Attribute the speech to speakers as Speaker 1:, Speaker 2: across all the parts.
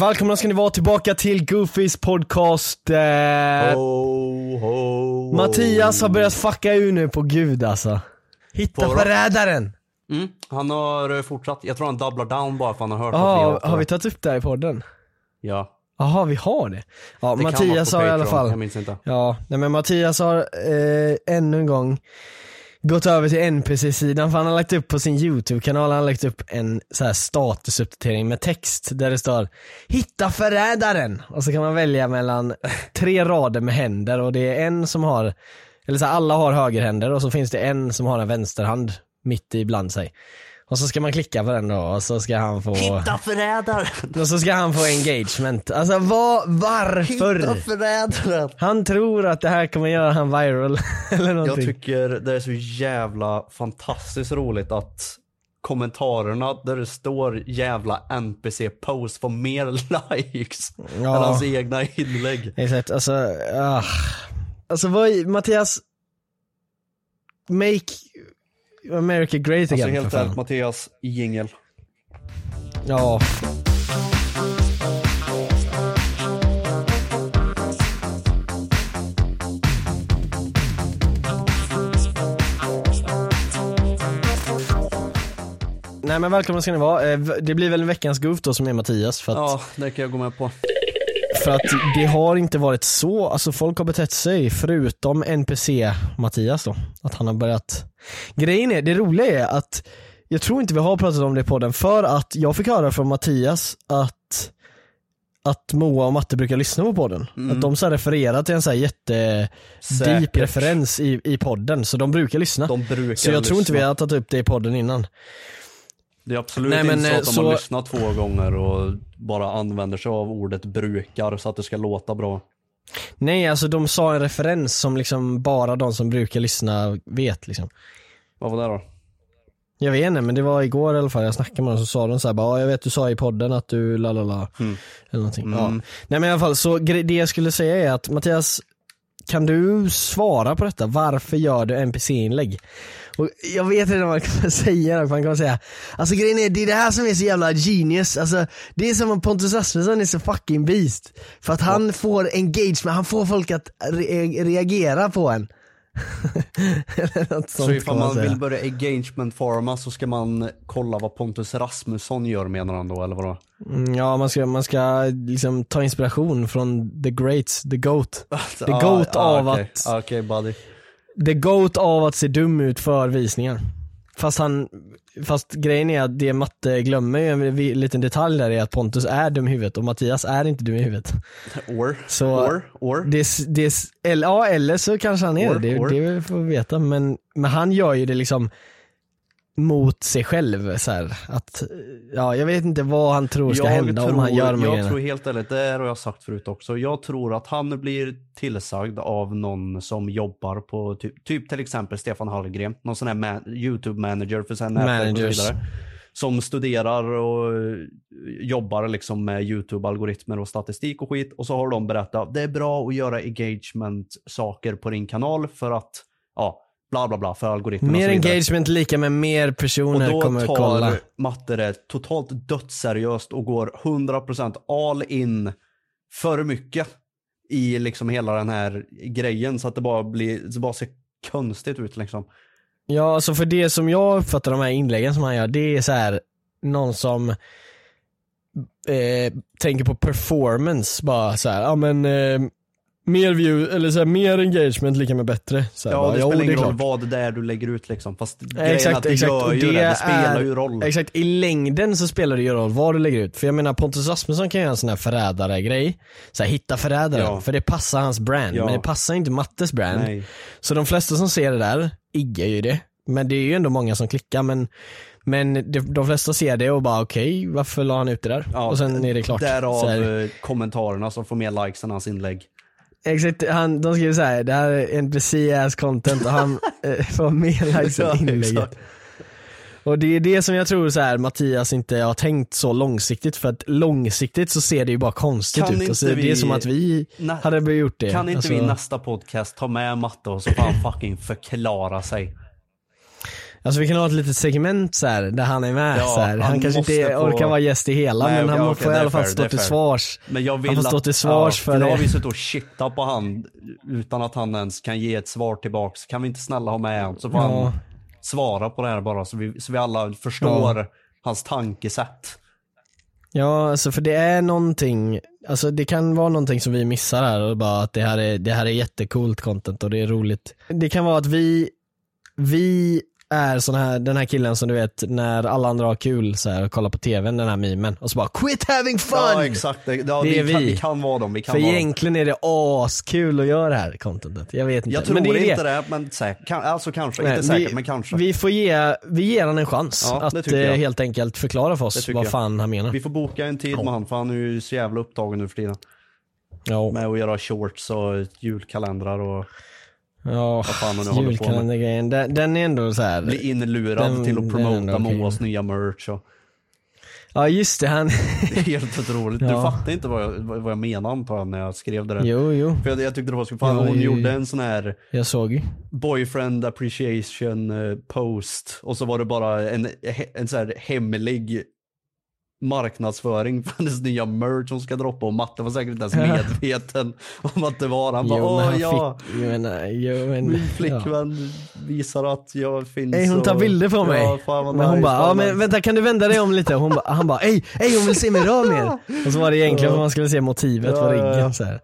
Speaker 1: Välkomna ska ni vara tillbaka till Goofys podcast. Eh, Mattias har börjat fucka ur nu på gud alltså. Hitta
Speaker 2: På-
Speaker 1: förrädaren!
Speaker 2: Mm, han har eh, fortsatt, jag tror han doublar down bara för han har hört
Speaker 1: Ja,
Speaker 2: att vi
Speaker 1: har vi tagit upp det här i podden?
Speaker 2: Ja.
Speaker 1: Jaha, vi har det. Ja,
Speaker 2: Det kan vara
Speaker 1: Mattias
Speaker 2: på
Speaker 1: har i alla
Speaker 2: Patreon,
Speaker 1: fall.
Speaker 2: Jag minns inte.
Speaker 1: Ja, nej men Mattias har eh, ännu en gång gått över till NPC-sidan för han har lagt upp på sin YouTube-kanal, han har lagt upp en så här statusuppdatering med text där det står Hitta förrädaren! Och så kan man välja mellan tre rader med händer och det är en som har, eller så här, alla har högerhänder och så finns det en som har en vänsterhand mitt ibland sig. Och så ska man klicka på den då och så ska han få,
Speaker 2: Hitta förrädaren!
Speaker 1: och så ska han få engagement. Alltså vad, varför?
Speaker 2: Hitta förrädaren!
Speaker 1: Han tror att det här kommer göra han viral eller
Speaker 2: Jag
Speaker 1: någonting.
Speaker 2: tycker det är så jävla fantastiskt roligt att kommentarerna där det står jävla NPC post får mer likes än
Speaker 1: Ja.
Speaker 2: hans egna inlägg.
Speaker 1: Exakt, alltså, ah. Alltså vad, är- Mattias, make America great
Speaker 2: Alltså
Speaker 1: again
Speaker 2: helt
Speaker 1: för
Speaker 2: ärligt
Speaker 1: fan.
Speaker 2: Mattias, jingel.
Speaker 1: Ja. Nej men välkomna ska ni vara. Eh, v- Det blir väl veckans goof då som är Mattias för att
Speaker 2: Ja, det kan jag gå med på.
Speaker 1: För att det har inte varit så, alltså folk har betett sig förutom NPC Mattias då. Att han har börjat. Grejen är, det roliga är att jag tror inte vi har pratat om det i podden för att jag fick höra från Mattias att att Moa och Matte brukar lyssna på podden. Att de så här refererar till en så här jätte deep
Speaker 2: Mm. Säkert.
Speaker 1: referens i, i podden, så de brukar lyssna.
Speaker 2: De brukar
Speaker 1: så jag tror inte vi
Speaker 2: lyssna.
Speaker 1: har tagit upp det i podden innan.
Speaker 2: Det är absolut
Speaker 1: Nej, men,
Speaker 2: inte så att
Speaker 1: eh,
Speaker 2: de
Speaker 1: så-
Speaker 2: har lyssnat två gånger och bara använder sig av ordet brukar så att det ska låta bra.
Speaker 1: Nej, alltså de sa en referens som liksom bara de som brukar lyssna vet liksom.
Speaker 2: Vad var det då?
Speaker 1: Jag vet inte men det var igår i alla fall, jag snackade med dem så sa de så här, bara, "Ja, jag vet du sa i podden att du la la la.
Speaker 2: Mm.
Speaker 1: Eller någonting. Ja. Nej men i alla fall, så gre- det jag skulle säga är att Mattias, kan du svara på detta? Varför gör du NPC-inlägg? Och jag vet redan vad han kommer säga, då, för han kommer säga Alltså grejen är, det är det här som är så jävla genius, alltså det är som om Pontus Rasmusson är så fucking beast. För att han får engagement, han får folk att re- reagera på en. Eller något sånt
Speaker 2: Så
Speaker 1: kan
Speaker 2: ifall man
Speaker 1: säga.
Speaker 2: vill börja engagement farma så ska man kolla vad Pontus Rasmusson gör menar han då eller vadå?
Speaker 1: Mm, Ja, man ska, man ska liksom ta inspiration från the greats, the goat. The
Speaker 2: Ah,
Speaker 1: goat
Speaker 2: ah,
Speaker 1: av
Speaker 2: okej.
Speaker 1: att,
Speaker 2: Ah, Okej buddy.
Speaker 1: the goat av att se dum ut för visningar. Fast han, fast grejen är att det Matte glömmer ju en vi- liten detalj där är att Pontus är dum i huvudet och Mattias är inte dum i huvudet.
Speaker 2: Or,
Speaker 1: Så-
Speaker 2: or, or.
Speaker 1: Det, är s- det, är s- eller, ja, eller så kanske han är
Speaker 2: Or-
Speaker 1: det,
Speaker 2: or.
Speaker 1: det, det får vi veta. Men, men han gör ju det liksom mot sig själv så här. att, ja jag vet inte vad han tror ska hända om han gör de här
Speaker 2: Jag
Speaker 1: grejerna.
Speaker 2: tror helt ärligt, det här har jag sagt förut också. Jag tror att han blir tillsagd av någon som jobbar på typ, typ till exempel Stefan Hallgren, någon sån här man, YouTube manager för sen nätverk och så
Speaker 1: Managers.
Speaker 2: vidare. som studerar och eh, jobbar liksom med YouTube-algoritmer och statistik och skit. Och så har de berättat det är bra att göra engagement-saker på din kanal för att, ja, bla bla bla för algoritmerna. och
Speaker 1: Mer
Speaker 2: så vidare.
Speaker 1: engagement lika med mer
Speaker 2: Och
Speaker 1: personer
Speaker 2: då
Speaker 1: kommer
Speaker 2: tar
Speaker 1: kolla.
Speaker 2: matte det totalt dödsseriöst och går 100% all in för mycket i liksom hela den här grejen så att det bara, blir, det bara ser konstigt ut liksom.
Speaker 1: Ja, alltså för det som jag uppfattar de här inläggen som han gör, det är så här någon som eh, tänker på performance bara så här, ja men eh, mer view, eller så här, mer engagement lika med bättre. Så här,
Speaker 2: Ja,
Speaker 1: bara,
Speaker 2: det
Speaker 1: jo,
Speaker 2: spelar ingen
Speaker 1: är
Speaker 2: roll
Speaker 1: klart.
Speaker 2: vad det är du lägger ut liksom. Fast
Speaker 1: Eh,
Speaker 2: grejen är att det gör
Speaker 1: och
Speaker 2: ju det, det spelar ju roll.
Speaker 1: Exakt, i längden så spelar det ju roll vad du lägger ut. För jag menar Pontus Rasmusson kan göra en sån här förrädare-grej. Så här, hitta förrädaren,
Speaker 2: Ja.
Speaker 1: för det passar hans brand.
Speaker 2: Ja.
Speaker 1: Men det passar inte Mattes brand.
Speaker 2: Nej.
Speaker 1: Så de flesta som ser det där iggar ju det. Men det är ju ändå många som klickar men, men det, de flesta ser det och bara okej, varför la han ut det där?
Speaker 2: Ja,
Speaker 1: och sen är det klart. Så
Speaker 2: Därav
Speaker 1: här,
Speaker 2: eh, kommentarerna som får mer likes än hans inlägg.
Speaker 1: exakt, han, de skriver såhär, det här är NPC ass content och han eh, får mer likes
Speaker 2: Ja,
Speaker 1: än inlägget.
Speaker 2: exakt.
Speaker 1: Och det är det som jag tror så här, Mattias inte har tänkt så långsiktigt för att långsiktigt så ser det ju bara konstigt
Speaker 2: Kan
Speaker 1: ut. Alltså,
Speaker 2: inte
Speaker 1: Det är
Speaker 2: vi-
Speaker 1: som att vi
Speaker 2: Nä-
Speaker 1: hade gjort det.
Speaker 2: Kan inte
Speaker 1: alltså,
Speaker 2: vi i nästa podcast ta med matte och så får han fucking förklara sig.
Speaker 1: Alltså vi kan ha ett litet segment så här, där han är med.
Speaker 2: Ja,
Speaker 1: så här. Han,
Speaker 2: han
Speaker 1: kanske inte
Speaker 2: måste få-
Speaker 1: orkar vara gäst i hela
Speaker 2: Nej,
Speaker 1: men han
Speaker 2: okej,
Speaker 1: må-
Speaker 2: okej,
Speaker 1: får i
Speaker 2: det är
Speaker 1: alla fall
Speaker 2: fair,
Speaker 1: stå
Speaker 2: det är
Speaker 1: till
Speaker 2: fair.
Speaker 1: svars.
Speaker 2: Men jag vill
Speaker 1: han får stå
Speaker 2: att-
Speaker 1: till svars
Speaker 2: ja,
Speaker 1: för
Speaker 2: Nu
Speaker 1: det.
Speaker 2: har vi suttit och shittat på han utan att han ens kan ge ett svar tillbaks. Kan vi inte snälla ha med han så får
Speaker 1: Ja.
Speaker 2: han svara på det här bara så vi, så vi alla förstår hans tankesätt.
Speaker 1: Ja, alltså för det är någonting, alltså det kan vara någonting som vi missar här och bara att det här är, det här är jättecoolt content och det är roligt. Det kan vara att vi, vi är sån här, den här killen som du vet när alla andra har kul så här och kollar på tvn, den här memen och så bara quit having fun!
Speaker 2: Ja exakt, Det- ja,
Speaker 1: Det
Speaker 2: vi,
Speaker 1: är
Speaker 2: Kan,
Speaker 1: vi.
Speaker 2: vi kan vara dem. Vi kan
Speaker 1: För
Speaker 2: vara dem.
Speaker 1: egentligen är det askul att göra det här contentet. Jag vet inte.
Speaker 2: Jag tror
Speaker 1: men det är det.
Speaker 2: inte det, men säkert. Kan, alltså kanske,
Speaker 1: Nej,
Speaker 2: inte säkert men kanske. Vi,
Speaker 1: Vi får ge, vi ger han en chans
Speaker 2: Ja, det
Speaker 1: att
Speaker 2: tycker jag.
Speaker 1: eh, helt enkelt förklara för
Speaker 2: Det
Speaker 1: oss
Speaker 2: tycker
Speaker 1: vad
Speaker 2: jag.
Speaker 1: fan han menar.
Speaker 2: får boka en tid med han för han är ju så jävla upptagen nu för tiden.
Speaker 1: Ja,
Speaker 2: Med att göra shorts och julkalendrar och
Speaker 1: ja
Speaker 2: fan han nu håller på med.
Speaker 1: julkalendergrejen. Den, den är ändå så här.
Speaker 2: bli inlurad
Speaker 1: Den-
Speaker 2: till
Speaker 1: den
Speaker 2: att
Speaker 1: är ändå
Speaker 2: promota
Speaker 1: okej.
Speaker 2: Moas nya merch. Och,
Speaker 1: Ja just det, han,
Speaker 2: Det är helt otroligt. Du
Speaker 1: Ja.
Speaker 2: fattar inte vad jag, vad vad jag menade antar jag när jag skrev det där.
Speaker 1: jo jo,
Speaker 2: För jag, jag tyckte det var så fan,
Speaker 1: Jo,
Speaker 2: hon
Speaker 1: jo,
Speaker 2: gjorde
Speaker 1: jo.
Speaker 2: en sån här
Speaker 1: jag såg ju.
Speaker 2: boyfriend appreciation eh, post och så var det bara en, he- en sån här hemlig marknadsföring för hennes nya merch hon ska droppa och Matte var säkert inte ens medveten om att det var han. bara,
Speaker 1: Jo men
Speaker 2: Åh,
Speaker 1: han
Speaker 2: ja,
Speaker 1: fick, jag menar, jo men.
Speaker 2: min
Speaker 1: Ja.
Speaker 2: flickvän visar att jag finns.
Speaker 1: Ey, hon tar
Speaker 2: och-
Speaker 1: bilder på mig.
Speaker 2: Ja, fan vad
Speaker 1: men hon
Speaker 2: nice,
Speaker 1: bara,
Speaker 2: fan
Speaker 1: ja
Speaker 2: vad
Speaker 1: men
Speaker 2: nice."
Speaker 1: vänta kan du vända dig om lite? Hon bara, han bara, ej, ej hon vill se mig röra mer. Och så var det egentligen för man skulle se motivet på
Speaker 2: Ja, ja, ja.
Speaker 1: ryggen så här.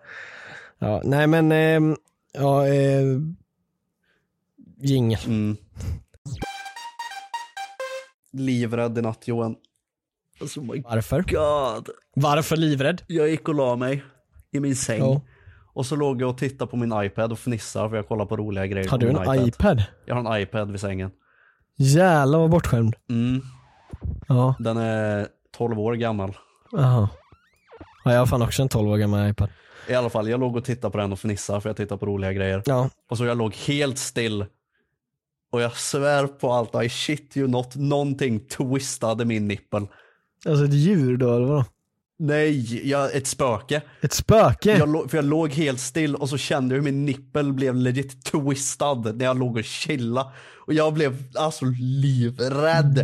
Speaker 1: Ja, nej men, ehm, ja, eh, jingel.
Speaker 2: Mm. Livrädd i natt Johan. Alltså my
Speaker 1: Varför?
Speaker 2: god.
Speaker 1: Varför livrädd?
Speaker 2: Jag gick och la mig i min säng.
Speaker 1: Ja.
Speaker 2: Och så låg jag och tittade på min iPad och fnissade för jag kollar på roliga grejer
Speaker 1: Har du
Speaker 2: på min
Speaker 1: en iPad?
Speaker 2: Jag har en iPad vid sängen.
Speaker 1: Jävlar vad bortskämd.
Speaker 2: Mm.
Speaker 1: Ja,
Speaker 2: Den är 12 år gammal.
Speaker 1: aha. Ja, jag har fan också en 12 år gammal iPad.
Speaker 2: I alla fall, jag låg och tittade på den och fnissade för jag tittade på roliga grejer.
Speaker 1: Ja.
Speaker 2: Och så jag låg helt still. Och jag svär på allt, I shit you not, någonting twistade min nippel.
Speaker 1: Alltså ett djur då eller vadå?
Speaker 2: Nej, jag, ett spöke.
Speaker 1: Ett spöke?
Speaker 2: Jag, lå- för jag låg helt still och så kände jag hur min nippel blev legit twistad när jag låg och chilla. Och jag blev alltså livrädd.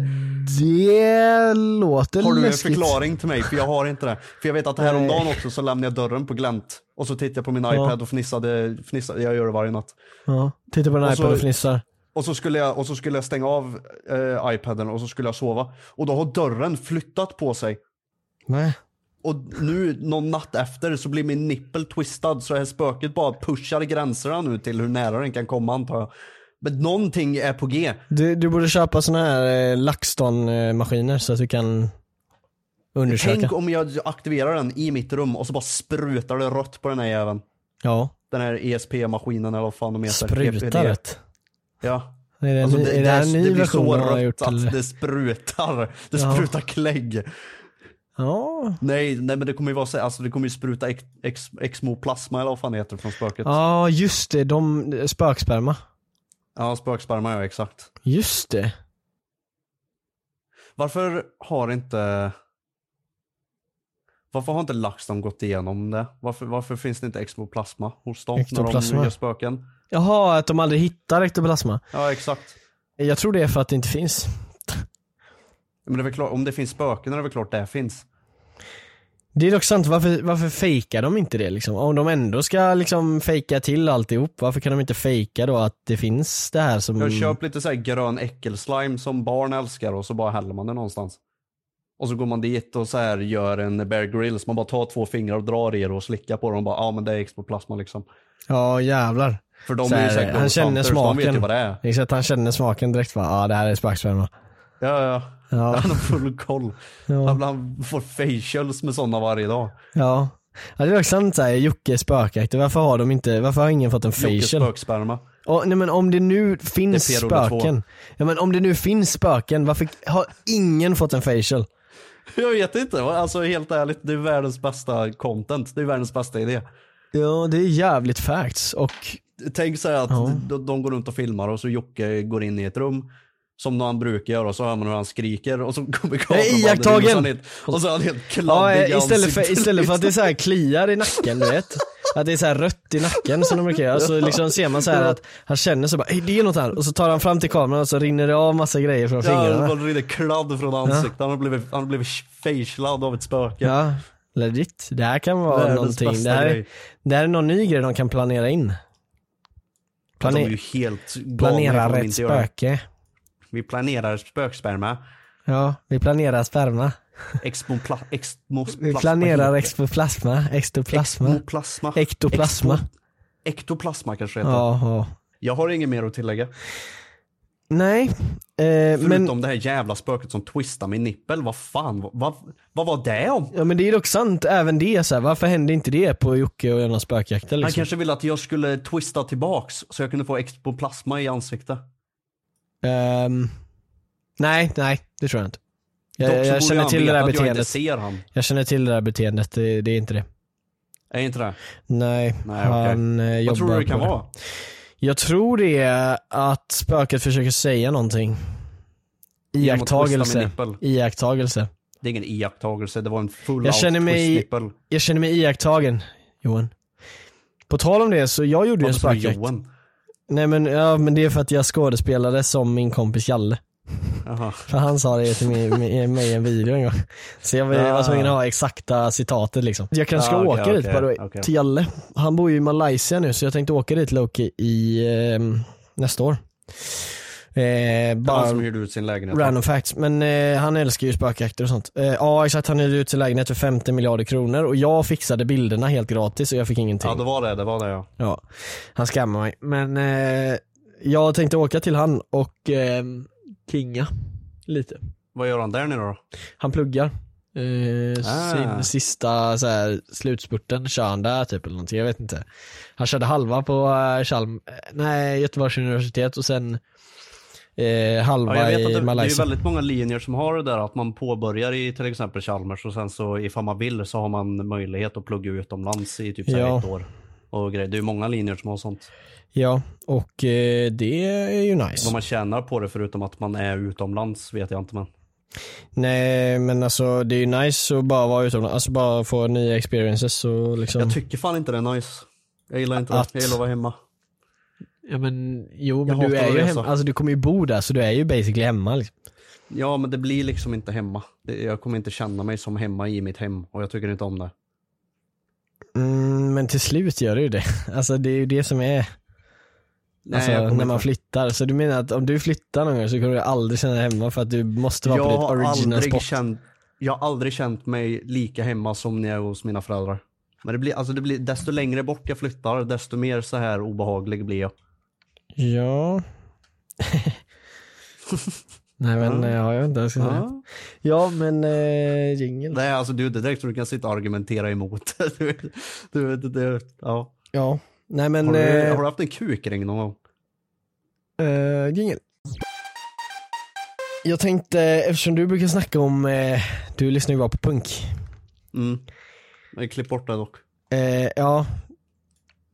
Speaker 1: Det låter
Speaker 2: Har du en
Speaker 1: läskigt.
Speaker 2: förklaring till mig? För jag har inte det. För jag vet att häromdagen också så lämnade jag dörren på glänt. Och så tittade jag på min iPad och fnissade, fnissade. Jag gör det varje natt.
Speaker 1: Ja. Titta på den här
Speaker 2: så-
Speaker 1: iPad och fnissar.
Speaker 2: Och så skulle jag, och så skulle jag stänga av eh, iPaden och så skulle jag sova. Och då har dörren flyttat på sig.
Speaker 1: Nej.
Speaker 2: Och nu någon natt efter så blir min nippel twistad så här spöket bara pushar gränserna nu till hur nära den kan komma antar jag. Men någonting är på G.
Speaker 1: Du, du borde köpa såna här eh, LaxTon-maskiner så att du kan undersöka.
Speaker 2: Tänk om jag aktiverar den i mitt rum och så bara sprutar det rött på den här jäveln.
Speaker 1: Ja,
Speaker 2: Den här ESP-maskinen eller vad fan de heter. EPD.
Speaker 1: sprutaret.
Speaker 2: Ja.
Speaker 1: Är det,
Speaker 2: Alltså
Speaker 1: ny-
Speaker 2: det,
Speaker 1: är det här en ny
Speaker 2: det blir
Speaker 1: version
Speaker 2: så
Speaker 1: de har
Speaker 2: rött
Speaker 1: gjort?
Speaker 2: att
Speaker 1: Till...
Speaker 2: det sprutar. Det
Speaker 1: Ja.
Speaker 2: sprutar klägg.
Speaker 1: Ja.
Speaker 2: Nej, nej men det kommer ju vara så, alltså det kommer ju spruta ex, ex, exmoplasma eller vad fan det heter från spöket. Ja,
Speaker 1: ja, just det. De, eh, spöksperma.
Speaker 2: spöksperma ja exakt.
Speaker 1: Just det.
Speaker 2: Varför har inte... Varför har inte LaxTon gått igenom det? Varför, varför finns det inte exoplasma hos dem när
Speaker 1: Ektoplasma.
Speaker 2: de gör spöken?
Speaker 1: Jaha, att de aldrig hittar ektoplasma.
Speaker 2: Ja, exakt.
Speaker 1: Jag tror det är för att det inte finns.
Speaker 2: Men det är väl klart, om det finns spöken är det väl klart det finns.
Speaker 1: Det är dock sant, varför, varför fejkar de inte det liksom? Om de ändå ska liksom fejka till alltihop, varför kan de inte fejka då att det finns det här som...
Speaker 2: Jag köper lite så här grön äckelslime som barn älskar och så bara häller man det någonstans. Och så går man dit och så här gör en Bear Grylls. Man bara tar två fingrar och drar i det och slickar på dem och bara ja ah, men det är exoplasma liksom.
Speaker 1: Ja jävlar.
Speaker 2: För de
Speaker 1: Så
Speaker 2: är ju
Speaker 1: här,
Speaker 2: säkert
Speaker 1: han känner
Speaker 2: ghost hunters, De vet ju
Speaker 1: smaken.
Speaker 2: vad det är.
Speaker 1: Exakt, han känner smaken direkt va? Ja det här är sparksperma.
Speaker 2: Ja, ja.
Speaker 1: Ja.
Speaker 2: Han har full koll. Han, han får facials med sådana varje dag.
Speaker 1: Ja. ja det är också sant såhär, Jocke är spökaktig, varför har de inte, varför har ingen fått en
Speaker 2: Jockes
Speaker 1: facial?
Speaker 2: spöksperma.
Speaker 1: Ja, nej men om det nu finns
Speaker 2: Det är P-Rolle två.
Speaker 1: spöken. Ja men om det nu finns spöken, varför har ingen fått en facial?
Speaker 2: Jag vet inte. Alltså helt ärligt, det är världens bästa content. Det är världens bästa idé.
Speaker 1: Ja det är jävligt facts och
Speaker 2: Tänk så här att de, de går runt och filmar och så Jocke går in i ett rum. Som han brukar göra och så hör man hur han skriker och så kommer
Speaker 1: är
Speaker 2: kameramannen in och så är han
Speaker 1: iakttagen.
Speaker 2: helt- Och så är han helt
Speaker 1: Ja,
Speaker 2: kladdig i
Speaker 1: eh, istället för,
Speaker 2: ansiktet,
Speaker 1: istället för att det är
Speaker 2: liksom.
Speaker 1: så här kliar i nacken, du vet. Att det är så här rött i nacken som de brukar göra. Så liksom ser man så här att han känner så bara, "Ey, det är något här. Och så tar han fram till kameran och så rinner det av massa grejer från
Speaker 2: Ja,
Speaker 1: fingrarna.
Speaker 2: han rinner kladd från ansiktet. Han har blivit, han har blivit facelad av ett spöke.
Speaker 1: Ja, legit. Det här kan vara
Speaker 2: Världens
Speaker 1: någonting.
Speaker 2: bästa
Speaker 1: Det här, är-
Speaker 2: grej.
Speaker 1: det här är någon ny grej de kan planera in.
Speaker 2: Att de är
Speaker 1: Plane-
Speaker 2: ju helt galna
Speaker 1: planera
Speaker 2: ifall de
Speaker 1: rätt
Speaker 2: inte gör det.
Speaker 1: spöke.
Speaker 2: Vi planerar spöksperma.
Speaker 1: Ja, vi planerar sperma.
Speaker 2: Expopla, exmoplasma.
Speaker 1: Vi planerar
Speaker 2: heter
Speaker 1: exoplasma,
Speaker 2: det.
Speaker 1: extoplasma,
Speaker 2: Expoplasma.
Speaker 1: ektoplasma.
Speaker 2: Expo- ektoplasma kanske det heter.
Speaker 1: Ja, ja.
Speaker 2: Jag har inget mer att tillägga.
Speaker 1: Nej, eh, men
Speaker 2: Förutom det här jävla spöket som twistar min nippel. Vad fan, vad, vad, vad var det om?
Speaker 1: Ja men det är dock sant, även det så här, varför hände inte det på Jocke och Jonas spökjakter
Speaker 2: Han
Speaker 1: liksom?
Speaker 2: kanske ville att jag skulle twista tillbaks så jag kunde få expoplasma i ansiktet.
Speaker 1: Ehm, nej, nej det tror jag inte.
Speaker 2: Dock så
Speaker 1: Jag,
Speaker 2: borde
Speaker 1: jag känner
Speaker 2: han
Speaker 1: till
Speaker 2: veta
Speaker 1: det där
Speaker 2: att jag inte
Speaker 1: beteendet.
Speaker 2: ser han.
Speaker 1: Jag känner till det där beteendet, det, det är inte det.
Speaker 2: Är inte det?
Speaker 1: Nej,
Speaker 2: Nej,
Speaker 1: han eh,
Speaker 2: Vad
Speaker 1: jobbar
Speaker 2: tror du det
Speaker 1: på
Speaker 2: kan vara?
Speaker 1: Jag tror det är att spöket försöker säga någonting. Iakttagelse.
Speaker 2: nippel.
Speaker 1: Iakttagelse.
Speaker 2: Det är ingen iakttagelse, det var en full
Speaker 1: Jag
Speaker 2: out
Speaker 1: känner mig-
Speaker 2: twist-nippel.
Speaker 1: Jag känner mig iakttagen, Johan. På tal om det, så jag gjorde ju en
Speaker 2: Varför sa du
Speaker 1: spökjakt.
Speaker 2: Johan?
Speaker 1: Nej men, ja, men det är för att jag skådespelade som min kompis Jalle.
Speaker 2: Jaha.
Speaker 1: För han sa det till mig, mig- mig i en video en gång. Så jag var jag var tvungen att ha exakta citatet liksom. Jag kanske ska
Speaker 2: Ah, okej,
Speaker 1: åka dit
Speaker 2: okej,
Speaker 1: by the way,
Speaker 2: okej.
Speaker 1: till Jalle. Han bor ju i Malaysia nu så jag tänkte åka dit Loki i ehm, nästa år. Eh,
Speaker 2: Han
Speaker 1: bara
Speaker 2: som hyrde ut sin lägenhet.
Speaker 1: random facts. Men eh, han älskar ju spökjakter och sånt. Eh, ja exakt, han hyrde ut sin lägenhet för 50 miljarder kronor och jag fixade bilderna helt gratis och jag fick ingenting.
Speaker 2: Ja det var det, det var det ja.
Speaker 1: Ja, han skammar mig. Men eh, jag tänkte åka till han och eh, kinga lite.
Speaker 2: Vad gör han där nu då?
Speaker 1: Han pluggar. Eh,
Speaker 2: Ah.
Speaker 1: Sin sista så här, slutspurten kör han där typ eller någonting, jag vet inte. Han körde halva på eh, Chalm, eh, nej Göteborgs universitet och sen eh, halva
Speaker 2: Ja, jag vet att
Speaker 1: i
Speaker 2: det, det är ju
Speaker 1: Malaysia.
Speaker 2: väldigt många linjer som har det där att man påbörjar i till exempel Chalmers och sen så ifall man vill så har man möjlighet att plugga utomlands i typ så här
Speaker 1: Ja.
Speaker 2: ett år. Och grejer. Det är ju många linjer som har sånt.
Speaker 1: Ja, och eh, det är ju nice.
Speaker 2: Vad man tjänar på det förutom att man är utomlands vet jag inte men.
Speaker 1: Nej men alltså det är ju nice att bara vara utomlands, alltså bara få nya experiences och liksom.
Speaker 2: Jag tycker fan inte det är nice. Jag gillar inte
Speaker 1: Att-
Speaker 2: det. Jag gillar att vara hemma.
Speaker 1: Ja men jo men
Speaker 2: Jag
Speaker 1: du
Speaker 2: hatar
Speaker 1: är
Speaker 2: att
Speaker 1: ju
Speaker 2: resa.
Speaker 1: hemma, alltså du kommer ju bo där så du är ju basically hemma liksom.
Speaker 2: Ja men det blir liksom inte hemma. Det, jag kommer inte känna mig som hemma i mitt hem och jag tycker inte om det.
Speaker 1: mm, Men till slut gör du ju det. Alltså det är ju det som är,
Speaker 2: Nej,
Speaker 1: alltså,
Speaker 2: jag kommer
Speaker 1: när man
Speaker 2: inte-
Speaker 1: flyttar. Så du menar att om du flyttar någon gång så kommer du aldrig känna dig hemma för att du måste vara
Speaker 2: jag
Speaker 1: på ditt
Speaker 2: har
Speaker 1: original
Speaker 2: aldrig
Speaker 1: spot.
Speaker 2: Känt, jag har aldrig känt mig lika hemma som när jag är hos mina föräldrar. Men det blir, alltså det blir, desto längre bort jag flyttar, desto mer så här obehaglig blir jag.
Speaker 1: Ja. Nej men eh, ja, jag vet inte vad jag ska säga.
Speaker 2: Ja.
Speaker 1: Ja men eh, jingeln.
Speaker 2: Nej, alltså du, det är direkt så du kan sitta och argumentera emot. Du, vet- du, vet, det, ja.
Speaker 1: Ja. Nej men,
Speaker 2: har, du,
Speaker 1: eh,
Speaker 2: har du haft en kukring någon gång?
Speaker 1: eh, jingel. Jag tänkte, eftersom du brukar snacka om, eh, du lyssnar ju bara på punk.
Speaker 2: Mm. Nej, Klipp bort det dock.
Speaker 1: Eh, ja.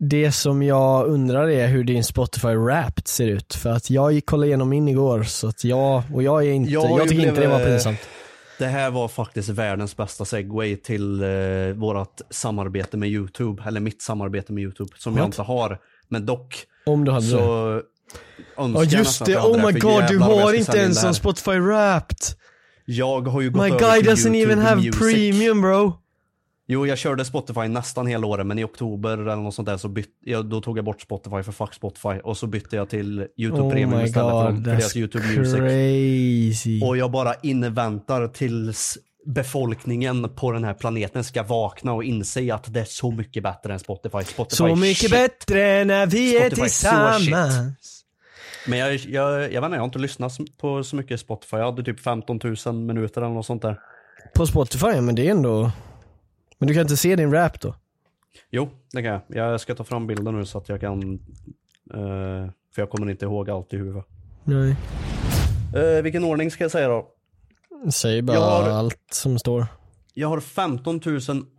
Speaker 1: Det som jag undrar är hur din Spotify Wrapped ser ut. För att jag gick kollade igenom min igår, så att jag, och jag är inte, jag,
Speaker 2: ju
Speaker 1: tycker inte det
Speaker 2: blev,
Speaker 1: var
Speaker 2: eh,
Speaker 1: pinsamt.
Speaker 2: Det här var faktiskt världens bästa segway till eh, vårt samarbete med Youtube, eller mitt samarbete med Youtube som jag
Speaker 1: What?
Speaker 2: inte har. Men dock
Speaker 1: Om du hade
Speaker 2: så
Speaker 1: det.
Speaker 2: Alltså, önskar
Speaker 1: Ja
Speaker 2: jag
Speaker 1: just
Speaker 2: nästan
Speaker 1: det,
Speaker 2: att jag hade
Speaker 1: oh
Speaker 2: här,
Speaker 1: my
Speaker 2: för
Speaker 1: god du
Speaker 2: jävlar vad jag
Speaker 1: har
Speaker 2: ska
Speaker 1: inte
Speaker 2: sälja in
Speaker 1: ens
Speaker 2: det här.
Speaker 1: en Spotify Wrapped.
Speaker 2: Jag har ju gått
Speaker 1: My
Speaker 2: över
Speaker 1: guy doesn't
Speaker 2: till YouTube
Speaker 1: even have
Speaker 2: music.
Speaker 1: premium bro.
Speaker 2: Jo, jag körde Spotify nästan hela året, men i oktober eller något sånt där så bytte jag, då tog jag bort Spotify för fuck Spotify och så bytte jag till YouTube
Speaker 1: Oh
Speaker 2: Premium
Speaker 1: my
Speaker 2: istället för,
Speaker 1: god,
Speaker 2: de- för deras
Speaker 1: that's
Speaker 2: YouTube Music.
Speaker 1: crazy.
Speaker 2: Och jag bara inväntar tills befolkningen på den här planeten ska vakna och inse att det är så mycket bättre än Spotify. Spotify
Speaker 1: Så mycket
Speaker 2: shit.
Speaker 1: bättre när vi är
Speaker 2: Spotify, så shit.
Speaker 1: tillsammans.
Speaker 2: Men jag, jag, jag vet inte, jag har inte lyssnat så- på så mycket Spotify. Jag hade typ 15 000 minuter eller något sånt där.
Speaker 1: På Spotify, ja, men det är ändå... Men du kan inte se din rap då?
Speaker 2: Jo, det kan jag. Jag ska ta fram bilden nu så att jag kan... eh, för jag kommer inte ihåg allt i huvudet.
Speaker 1: Nej.
Speaker 2: Eh, vilken ordning ska jag säga då?
Speaker 1: Säg bara
Speaker 2: Jag har-
Speaker 1: allt som står.
Speaker 2: Jag har 15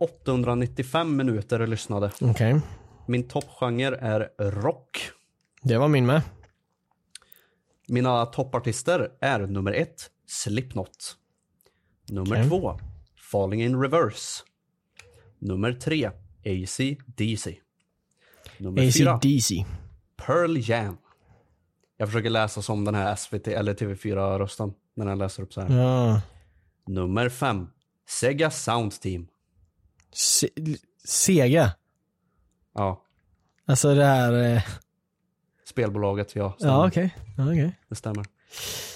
Speaker 2: 895 minuter lyssnade.
Speaker 1: Okej.
Speaker 2: Min toppgenre är rock.
Speaker 1: Det var min med.
Speaker 2: Mina toppartister är nummer ett, Slipknot. Nummer
Speaker 1: Okej.
Speaker 2: två, Falling in Reverse. Nummer tre, AC DC. Nummer fyra,
Speaker 1: AC/DC.
Speaker 2: Pearl Jam. Jag försöker läsa som den här SVT eller TV4-rösten när den läser upp så här.
Speaker 1: Ja.
Speaker 2: Nummer fem, Sega Sound Team.
Speaker 1: Se Sega.
Speaker 2: Ja,
Speaker 1: Alltså det här... Eh...
Speaker 2: spelbolaget, ja. stämmer.
Speaker 1: Ja okej. Ja, okej.
Speaker 2: Det stämmer.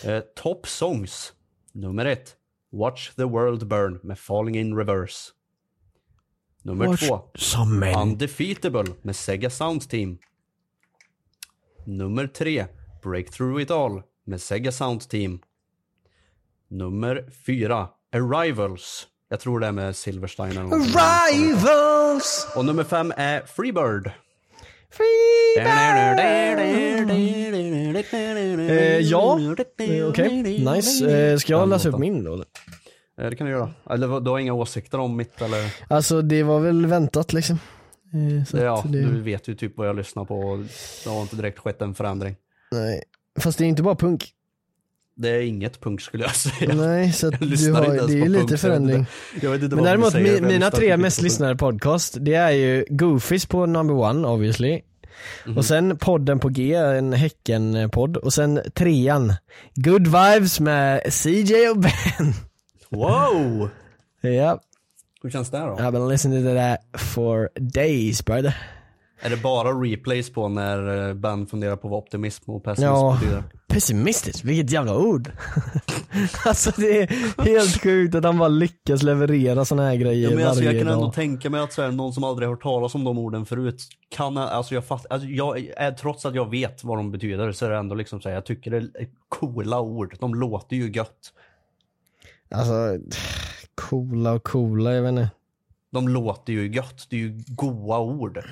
Speaker 2: Eh, top songs. Nummer ett. Watch the world burn med Falling in reverse. Nummer två.
Speaker 1: Som en.
Speaker 2: Undefeatable med Sega Sound Team. Nummer tre. Breakthrough it all med Sega Sound Team. Nummer fyra. Arrivals. Jag tror det är med Silverstein eller något sånt.
Speaker 1: Rivals!
Speaker 2: Och nummer fem är Freebird.
Speaker 1: Free Eh, ja, Eh, okej. Nice. Eh, ska jag
Speaker 2: Den
Speaker 1: läsa upp
Speaker 2: låten.
Speaker 1: min då? eller?
Speaker 2: Eh, Det kan du göra. Eller vad- du har inga åsikter om mitt eller?
Speaker 1: Alltså det var väl väntat liksom. Eh, så
Speaker 2: Ja,
Speaker 1: att det...
Speaker 2: du vet ju typ vad jag lyssnar på och det har inte direkt skett en förändring.
Speaker 1: Nej. Fast det är inte bara punk.
Speaker 2: Det är inget punk skulle jag säga.
Speaker 1: Nej, så att
Speaker 2: Jag
Speaker 1: du
Speaker 2: lyssnar
Speaker 1: har,
Speaker 2: inte ens
Speaker 1: det är
Speaker 2: på
Speaker 1: ju
Speaker 2: punk,
Speaker 1: lite
Speaker 2: så jag vet
Speaker 1: förändring.
Speaker 2: inte- Jag vet inte
Speaker 1: Men
Speaker 2: vad vi
Speaker 1: däremot
Speaker 2: säger,
Speaker 1: mi,
Speaker 2: jag
Speaker 1: mina
Speaker 2: lyssnar
Speaker 1: tre
Speaker 2: inte
Speaker 1: mest
Speaker 2: på-
Speaker 1: lyssnade podcast, det är ju Goofies på number one obviously.
Speaker 2: Mhm.
Speaker 1: Och sen podden på G, en Häcken-podd. Och sen trean, Good Vibes med CJ och Ben.
Speaker 2: Wow!
Speaker 1: Ja,
Speaker 2: Hur känns det då?
Speaker 1: I've been listening to that for days brother.
Speaker 2: Är det bara replays på när eh, Ben funderar på vad optimism och pessimism
Speaker 1: Ja,
Speaker 2: betyder?
Speaker 1: pessimistiskt, vilket jävla ord. alltså det är helt sjukt att han bara lyckas leverera såna här grejer
Speaker 2: Ja, men alltså,
Speaker 1: varje
Speaker 2: jag kan
Speaker 1: dag.
Speaker 2: ändå tänka mig att så här, någon som aldrig hört talas om de orden förut kan, alltså jag fast, alltså, jag, är- trots att jag vet vad de betyder så är det ändå liksom så här, jag tycker det är coola ord. De låter ju gött.
Speaker 1: Alltså, coola och coola, jag vet inte.
Speaker 2: De låter ju gött. Det är ju goa ord.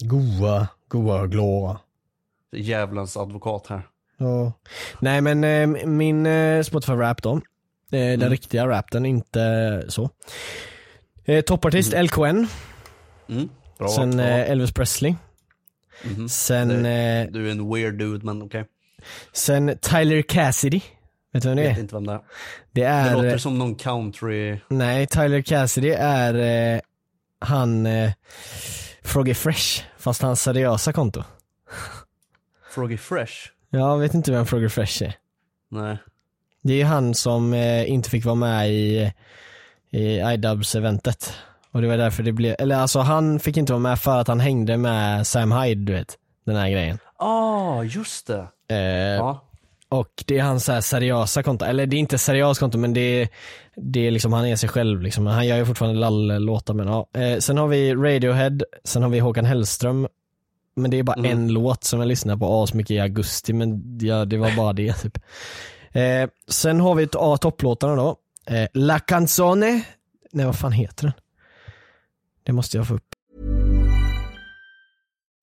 Speaker 1: Goa, goa och glåa.
Speaker 2: Djävulens advokat här.
Speaker 1: Ja. Nej men eh, min eh, Spotify rap då. Eh, Den riktiga rappen, inte så. Eh, Toppartist LKN,
Speaker 2: Mm. Bra.
Speaker 1: sen
Speaker 2: bra.
Speaker 1: eh, Elvis Presley. Sen, eh,
Speaker 2: Du är en weird dude men okej.
Speaker 1: sen Tyler Cassidy. Vet du vem det
Speaker 2: Vet
Speaker 1: är?
Speaker 2: inte vem det är.
Speaker 1: Det
Speaker 2: Det
Speaker 1: är, eh,
Speaker 2: låter som någon country...
Speaker 1: nej Tyler Cassidy är eh, han eh, Froggy Fresh, fast hans seriösa konto.
Speaker 2: Froggy Fresh?
Speaker 1: Jag vet inte vem Froggy Fresh är.
Speaker 2: Nej.
Speaker 1: Det är ju han som eh, inte fick vara med i, i iDubbbz-eventet. Och det var därför det blev, eller alltså han fick inte vara med för att han hängde med Sam Hyde du vet. Den här grejen.
Speaker 2: Ah, just det.
Speaker 1: Eh,
Speaker 2: Ja.
Speaker 1: Och det är hans så här seriösa konto, eller det är inte seriöst konto men det är, det är liksom, han är sig själv liksom. Han gör ju fortfarande lall-låtar men ja. Eh, sen har vi Radiohead, sen har vi Håkan Hellström. Men det är bara
Speaker 2: Mm.
Speaker 1: en låt som jag lyssnar på asmycket i augusti men ja, det var bara det typ. Eh, sen har vi ett A topplåtarna då. Eh, La Canzone, nej vad fan heter den? Det måste jag få upp.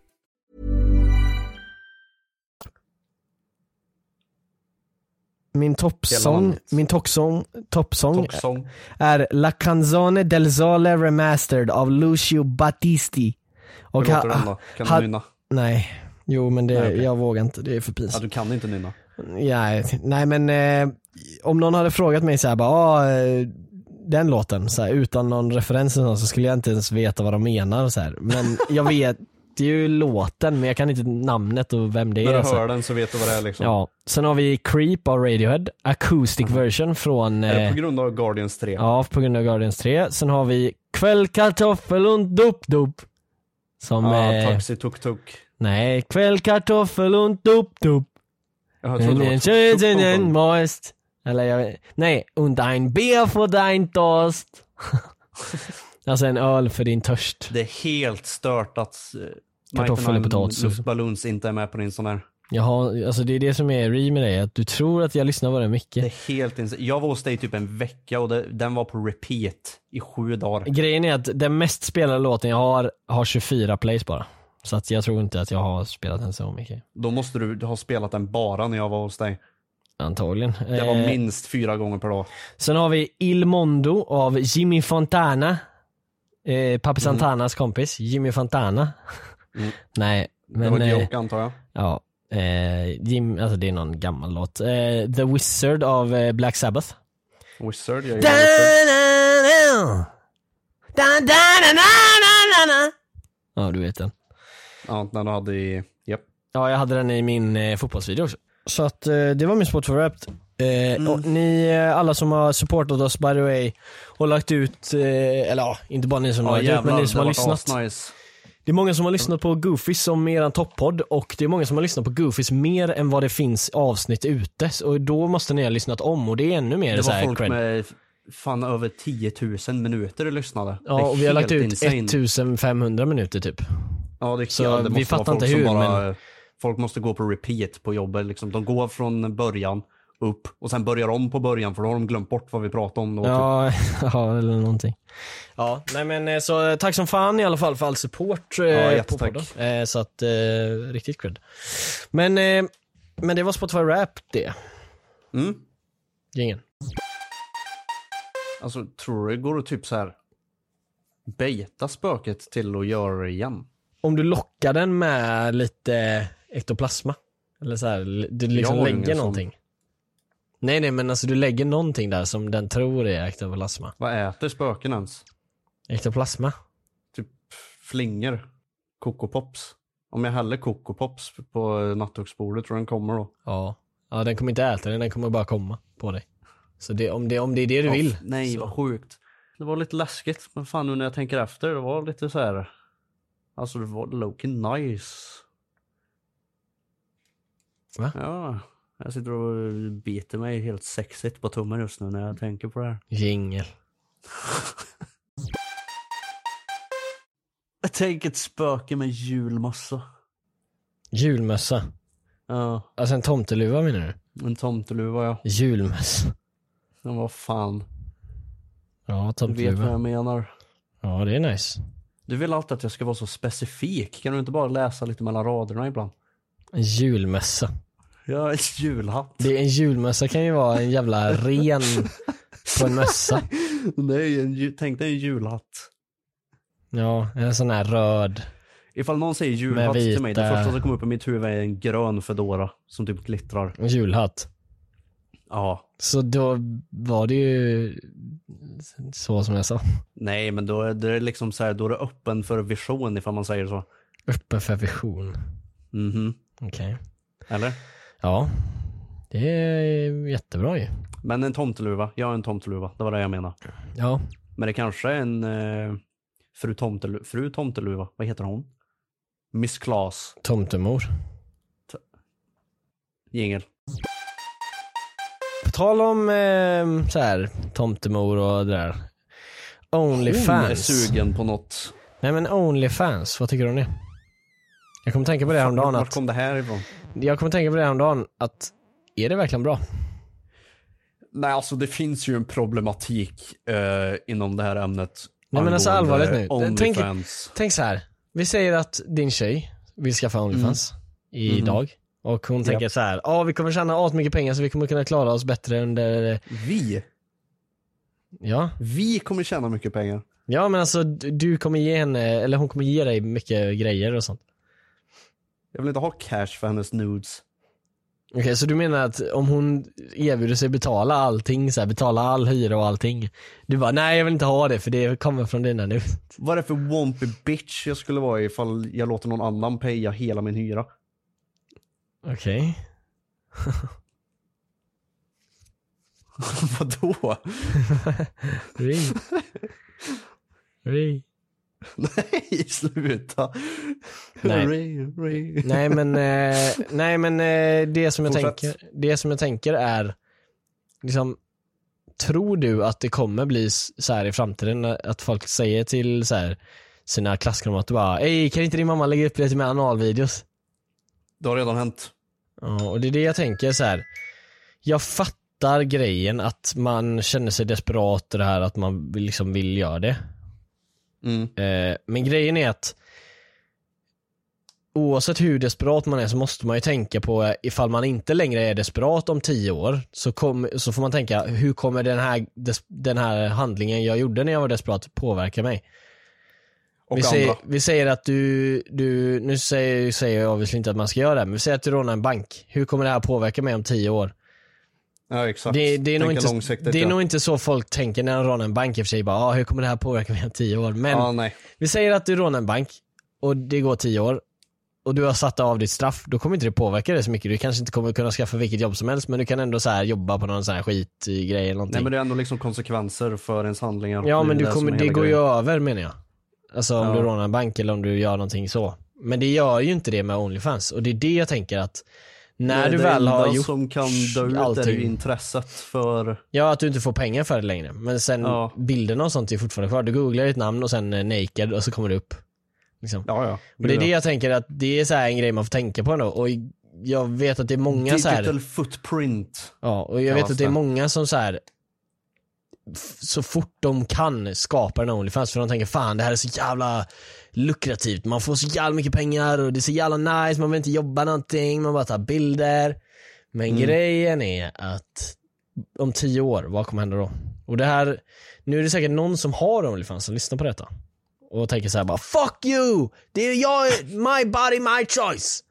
Speaker 1: Min toppsång,
Speaker 2: namnet.
Speaker 1: min toppsång, toppsång
Speaker 2: Toppsång.
Speaker 1: är La Canzone del Sole Remastered av Lucio Battisti.
Speaker 2: Hur
Speaker 1: Och
Speaker 2: låter
Speaker 1: ha-
Speaker 2: den då? Kan
Speaker 1: ha-
Speaker 2: du nynna?
Speaker 1: Nej, jo men det,
Speaker 2: Nej, okej.
Speaker 1: jag vågar inte, det är för pinsamt.
Speaker 2: Ja, du kan inte nynna.
Speaker 1: Nej, nej men eh, om någon hade frågat mig såhär bara, ah, eh, den låten, så här, utan någon referens eller något, så skulle jag inte ens veta vad de menar. Så här. Men jag vet ju låten men jag kan inte namnet och vem det
Speaker 2: När
Speaker 1: är.
Speaker 2: du
Speaker 1: Så.
Speaker 2: hör
Speaker 1: här.
Speaker 2: den så vet du vad det är liksom.
Speaker 1: Alltså, Ja. Sen har vi Creep av Radiohead, acoustic version från
Speaker 2: Är det
Speaker 1: eh,
Speaker 2: på grund av Guardians 3?
Speaker 1: Ja, på grund av Guardians 3. Sen har vi Kväll kartoffel och dop dop. Som,
Speaker 2: Ah,
Speaker 1: eh,
Speaker 2: taxi tuk tuk.
Speaker 1: nej, Kväll kartoffel och dop dop.
Speaker 2: Jag trodde det var
Speaker 1: Den
Speaker 2: tuk tuk
Speaker 1: schönen den
Speaker 2: någon.
Speaker 1: Most. Eller jag Nej, und ein Bier för dein Durst. alltså en öl för din törst.
Speaker 2: Det är helt stört att eh,
Speaker 1: Kartoffel
Speaker 2: Mighty
Speaker 1: och potatis. liksom.
Speaker 2: Nine Luftballons inte är med på din sån här.
Speaker 1: Jag har, alltså det är det som är re med dig, att du tror att jag lyssnar på den
Speaker 2: Det
Speaker 1: mycket.
Speaker 2: är helt ins- Jag var hos dig typ en vecka och det, den var på repeat i sju dagar.
Speaker 1: Grejen är att den mest spelade låten jag har, har 24 plays bara. Så att jag tror inte att jag har spelat den så mycket.
Speaker 2: Då måste du ha spelat den bara när jag var hos dig.
Speaker 1: Antagligen.
Speaker 2: Det var
Speaker 1: Eh,
Speaker 2: minst fyra gånger per dag.
Speaker 1: Sen har vi Il Mondo av Jimmy Fontana. Eh,
Speaker 2: Mm.
Speaker 1: Papi Santanas kompis, Jimmy Fontana. Nej,
Speaker 2: Det var
Speaker 1: men...
Speaker 2: ett
Speaker 1: eh,
Speaker 2: joke antar jag.
Speaker 1: Ja. Eh, Jim, alltså det är någon gammal låt. Eh, The Wizard av eh, Black Sabbath.
Speaker 2: Wizard, jag
Speaker 1: Da,
Speaker 2: gillar Wizard.
Speaker 1: da, da, da, da, da, da, da. Ja, du vet den.
Speaker 2: Ja, när du hade i... Japp.
Speaker 1: Ja, jag hade den i min eh, fotbollsvideo också. Så att eh, det var min sport för Wrapped. Eh,
Speaker 2: Mm.
Speaker 1: och ni eh, alla som har supportat oss by the way och lagt ut, eh, eller ja, inte bara ni som har lagt ut men ni som har lyssnat.
Speaker 2: asnice.
Speaker 1: Det är många som har lyssnat på Goofies som eran toppodd och det är många som har lyssnat på Goofies mer än vad det finns avsnitt ute. Så- Och då måste ni ha lyssnat om och det är ännu mer
Speaker 2: Det
Speaker 1: så här
Speaker 2: var folk
Speaker 1: cred.
Speaker 2: med fan över 10 000 minuter och lyssnade. Det
Speaker 1: Ja,
Speaker 2: är
Speaker 1: och vi har lagt
Speaker 2: helt
Speaker 1: ut
Speaker 2: insane.
Speaker 1: 1500 minuter typ.
Speaker 2: Ja, det,
Speaker 1: Så
Speaker 2: ja, det
Speaker 1: vi
Speaker 2: måste
Speaker 1: fattar
Speaker 2: vara folk
Speaker 1: inte hur,
Speaker 2: som bara, Folk måste gå på repeat på jobbet. Liksom. De går från början upp och sen börjar om på början för då har de glömt bort vad vi pratade om. Då, typ.
Speaker 1: Ja, ja, eller någonting. Ja, nej men eh, så eh, tack som fan i alla fall för all support eh, på
Speaker 2: jättetack.
Speaker 1: podden. Eh, så att, eh, riktigt cred. Men, eh, men det var Spotify Rap det.
Speaker 2: Mm.
Speaker 1: Ingen.
Speaker 2: Alltså, tror du det går att typ så här bejta spöket till att göra det igen?
Speaker 1: om du lockar den med lite ektoplasma. Eller så här, du liksom
Speaker 2: har ju
Speaker 1: lägger
Speaker 2: ingen
Speaker 1: någonting. Nej nej men alltså du lägger någonting där som den tror är ektoplasma.
Speaker 2: Vad äter spöken ens?
Speaker 1: Ektoplasma?
Speaker 2: Typ flingor? Kokopops? Om jag häller kokopops på nattduksbordet tror jag den kommer då.
Speaker 1: Ja. Ja den kommer inte äta den, den kommer bara komma på dig. Så det, om, det, om det är det du vill.
Speaker 2: Ja, nej, vad sjukt. Det var lite läskigt, men fan nu när jag tänker efter, det var lite så här. Alltså det var Loki nice.
Speaker 1: Va?
Speaker 2: Ja, jag sitter och biter mig helt sexigt på tummen just nu när jag tänker på det här.
Speaker 1: Jingel.
Speaker 2: Tänk ett spöke med julmössa.
Speaker 1: Julmössa.
Speaker 2: Ja,
Speaker 1: Alltså en tomteluva menar du?
Speaker 2: en tomteluva ja.
Speaker 1: Julmössa.
Speaker 2: Men vad fan,
Speaker 1: Ja
Speaker 2: du vet vad
Speaker 1: tomteluva.
Speaker 2: jag menar.
Speaker 1: Ja det är nice.
Speaker 2: Du vill alltid att jag ska vara så specifik. Kan du inte bara läsa lite mellan raderna ibland?
Speaker 1: En julmössa.
Speaker 2: Jag har ett julhatt.
Speaker 1: Det, en julmössa kan ju vara en jävla ren på en mössa.
Speaker 2: Nej, en, ju- tänk dig en julhatt.
Speaker 1: Ja, en sån här röd.
Speaker 2: Ifall någon säger
Speaker 1: Med
Speaker 2: julhatt till mig, det
Speaker 1: vita-
Speaker 2: första som kommer upp i mitt huvud är en grön fedora som typ glittrar.
Speaker 1: En julhatt.
Speaker 2: Ja.
Speaker 1: Så då var det ju så som jag sa.
Speaker 2: Nej, men då är det liksom så här, då är det öppen för vision ifall man säger så.
Speaker 1: Öppen för vision.
Speaker 2: Mhm.
Speaker 1: Okej.
Speaker 2: Eller?
Speaker 1: Ja. Det är jättebra ju.
Speaker 2: Men en tomteluva. Jag är en tomteluva. Det var det jag menade.
Speaker 1: Ja.
Speaker 2: Men det kanske är en eh, fru, tomtelu, fru tomteluva. Vad heter hon? Miss Claes.
Speaker 1: Tomtemor.
Speaker 2: Jingel.
Speaker 1: På tal om eh, så här, tomtemor och det där.
Speaker 2: Hon är
Speaker 1: Onlyfans.
Speaker 2: sugen på något.
Speaker 1: Nej men Onlyfans, vad tycker du om det? Jag kommer tänka på det häromdagen
Speaker 2: Vart
Speaker 1: att,
Speaker 2: kom det här ifrån?
Speaker 1: jag kommer tänka på det häromdagen att, är det verkligen bra?
Speaker 2: Nej, alltså det finns ju en problematik eh, inom det här ämnet.
Speaker 1: Nej men alltså allvarligt nu.
Speaker 2: angående
Speaker 1: Tänk,
Speaker 2: Onlyfans.
Speaker 1: tänk så här. Vi säger att din tjej vill skaffa Onlyfans idag. Och hon tänker så här, Mm. ja vi kommer tjäna åt mycket pengar så vi kommer kunna klara oss bättre under,
Speaker 2: Vi,
Speaker 1: ja.
Speaker 2: vi kommer tjäna mycket pengar.
Speaker 1: Ja men alltså du du kommer ge henne, eller hon kommer ge dig mycket grejer och sånt.
Speaker 2: Jag vill inte ha cash för hennes nudes.
Speaker 1: Okej, så du menar att om hon erbjuder sig betala allting, så här, betala all hyra och allting. Du bara, nej jag vill inte ha det för det kommer från dina nu.
Speaker 2: Vad är det för wompy bitch jag skulle vara ifall jag låter någon annan paya hela min hyra?
Speaker 1: Okej.
Speaker 2: Vadå?
Speaker 1: Ri. Ri.
Speaker 2: Nej, sluta.
Speaker 1: Nej.
Speaker 2: Ray, Ray.
Speaker 1: Nej men, eh, nej, men eh, det, som jag
Speaker 2: Fortsätt.
Speaker 1: tänker, det som jag tänker är, liksom, tror du att det kommer bli s- så här i framtiden eh, att folk säger till så här, sina klasskamrater bara, ej kan inte din mamma lägga upp lite med analvideos?
Speaker 2: Det har redan hänt.
Speaker 1: Ja, och det är det jag tänker så här. Jag fattar grejen att man känner sig desperat och det här att man vill- liksom vill göra det.
Speaker 2: Mm.
Speaker 1: Eh, men grejen är att oavsett hur desperat man är så måste man ju tänka på eh, ifall man inte längre är desperat om tio år så, kom, så får man tänka hur kommer den här, des, den här handlingen jag gjorde när jag var desperat påverka mig?
Speaker 2: Och
Speaker 1: vi,
Speaker 2: andra.
Speaker 1: säger, vi säger att du, du nu säger, säger jag obviously inte att man ska göra det, men vi säger att du rånar en bank. Hur kommer det här påverka mig om tio år?
Speaker 2: Ja, exakt.
Speaker 1: Det, det, är, nog
Speaker 2: Tänka
Speaker 1: inte,
Speaker 2: långsiktigt,
Speaker 1: det är
Speaker 2: ja.
Speaker 1: nog inte så folk tänker när de rånar en bank i och för sig. Bara, ah, hur kommer det här påverka mig om tio år? Men
Speaker 2: Ja, nej.
Speaker 1: vi säger att du rånar en bank och det går tio år och du har satt av ditt straff, då kommer inte det påverka dig så mycket. Du kanske inte kommer kunna skaffa vilket jobb som helst men du kan ändå så här jobba på någon sån här skitgrej eller någonting.
Speaker 2: nej, men det är ändå liksom konsekvenser för ens handlingar.
Speaker 1: Ja
Speaker 2: är
Speaker 1: men du
Speaker 2: som
Speaker 1: kommer,
Speaker 2: är
Speaker 1: det
Speaker 2: hela
Speaker 1: går ju
Speaker 2: grejen.
Speaker 1: över menar jag. Alltså om
Speaker 2: Ja.
Speaker 1: du rånar en bank eller om du gör någonting så. Men det gör ju inte det med Onlyfans och det är det jag tänker att när
Speaker 2: Nej,
Speaker 1: du väl
Speaker 2: Det
Speaker 1: har
Speaker 2: enda
Speaker 1: gjort
Speaker 2: som kan dö ut är ju
Speaker 1: allting.
Speaker 2: intresset för...
Speaker 1: Ja att du inte får pengar för det längre. Men sen
Speaker 2: Ja.
Speaker 1: bilderna och sånt är fortfarande kvar. Du googlar ditt namn och sen eh, naked och så kommer det upp. Liksom.
Speaker 2: Ja, ja.
Speaker 1: Och det är det jag tänker att det är så här en grej man får tänka på ändå. Och jag vet att det är många så här,
Speaker 2: Digital footprint.
Speaker 1: Ja, och jag
Speaker 2: Ja,
Speaker 1: vet att det är
Speaker 2: stämmer.
Speaker 1: många som så här f- så fort de kan skapar en Onlyfans för de tänker fan det här är så jävla lukrativt, man får så jävla mycket pengar och det är så jävla nice, man behöver inte jobba någonting, man bara tar bilder. Men grejen är att om tio år, vad kommer hända då? Och det här, nu är det säkert någon som har Onlyfans som lyssnar på detta. Och tänker så här bara fuck you! Det är jag, my body, my choice!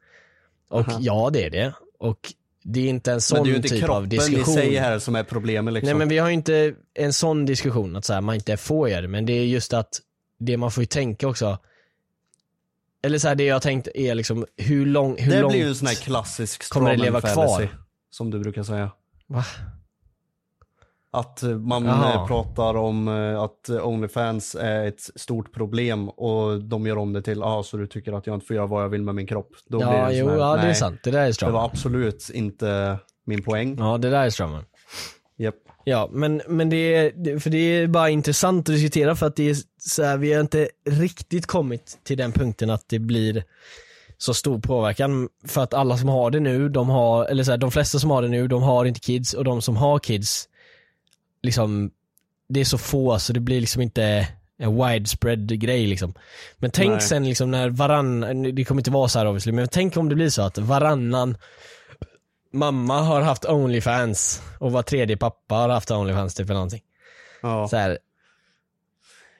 Speaker 1: Och ja det är det. Och det är inte en
Speaker 2: Men
Speaker 1: sån
Speaker 2: det är ju inte
Speaker 1: typ av
Speaker 2: kroppen
Speaker 1: diskussion.
Speaker 2: i sig här som är problemet liksom.
Speaker 1: Nej men vi har ju inte en sån diskussion att så här, man inte får göra det, men det är just att det man får ju tänka också. Eller så här, det jag har tänkt är liksom hur lång, hur
Speaker 2: det
Speaker 1: långt...
Speaker 2: blir ju en sån här klassisk
Speaker 1: kommer det
Speaker 2: strawman
Speaker 1: leva kvar?
Speaker 2: fallacy, Som du brukar säga.
Speaker 1: Va?
Speaker 2: Att eh, man
Speaker 1: Jaha.
Speaker 2: eh, pratar om eh, att eh, Onlyfans är ett stort problem och de gör om det till, ah, så du tycker att jag inte får göra vad jag vill med min kropp. Då blir det
Speaker 1: Ja,
Speaker 2: en
Speaker 1: jo,
Speaker 2: sån här,
Speaker 1: ja det är
Speaker 2: nej,
Speaker 1: sant. Det där är
Speaker 2: Det var
Speaker 1: strömmen.
Speaker 2: absolut inte min poäng.
Speaker 1: Ja, det där är strömmen.
Speaker 2: Japp.
Speaker 1: Ja, men, men det, är, det- för det är bara intressant att diskutera för att det är så här, vi har inte riktigt kommit till den punkten att det blir så stor påverkan. För att alla som har det nu, de har, eller så här, de flesta som har det nu, de har inte kids och de som har kids, liksom, det är så få så det blir liksom inte en widespread grej liksom. Men tänk
Speaker 2: Nej.
Speaker 1: sen liksom när varann, det kommer inte vara så här obviously, men tänk om det blir så att varannan mamma har haft Onlyfans och var tredje pappa har haft Onlyfans typ eller någonting.
Speaker 2: Ja.
Speaker 1: Så här,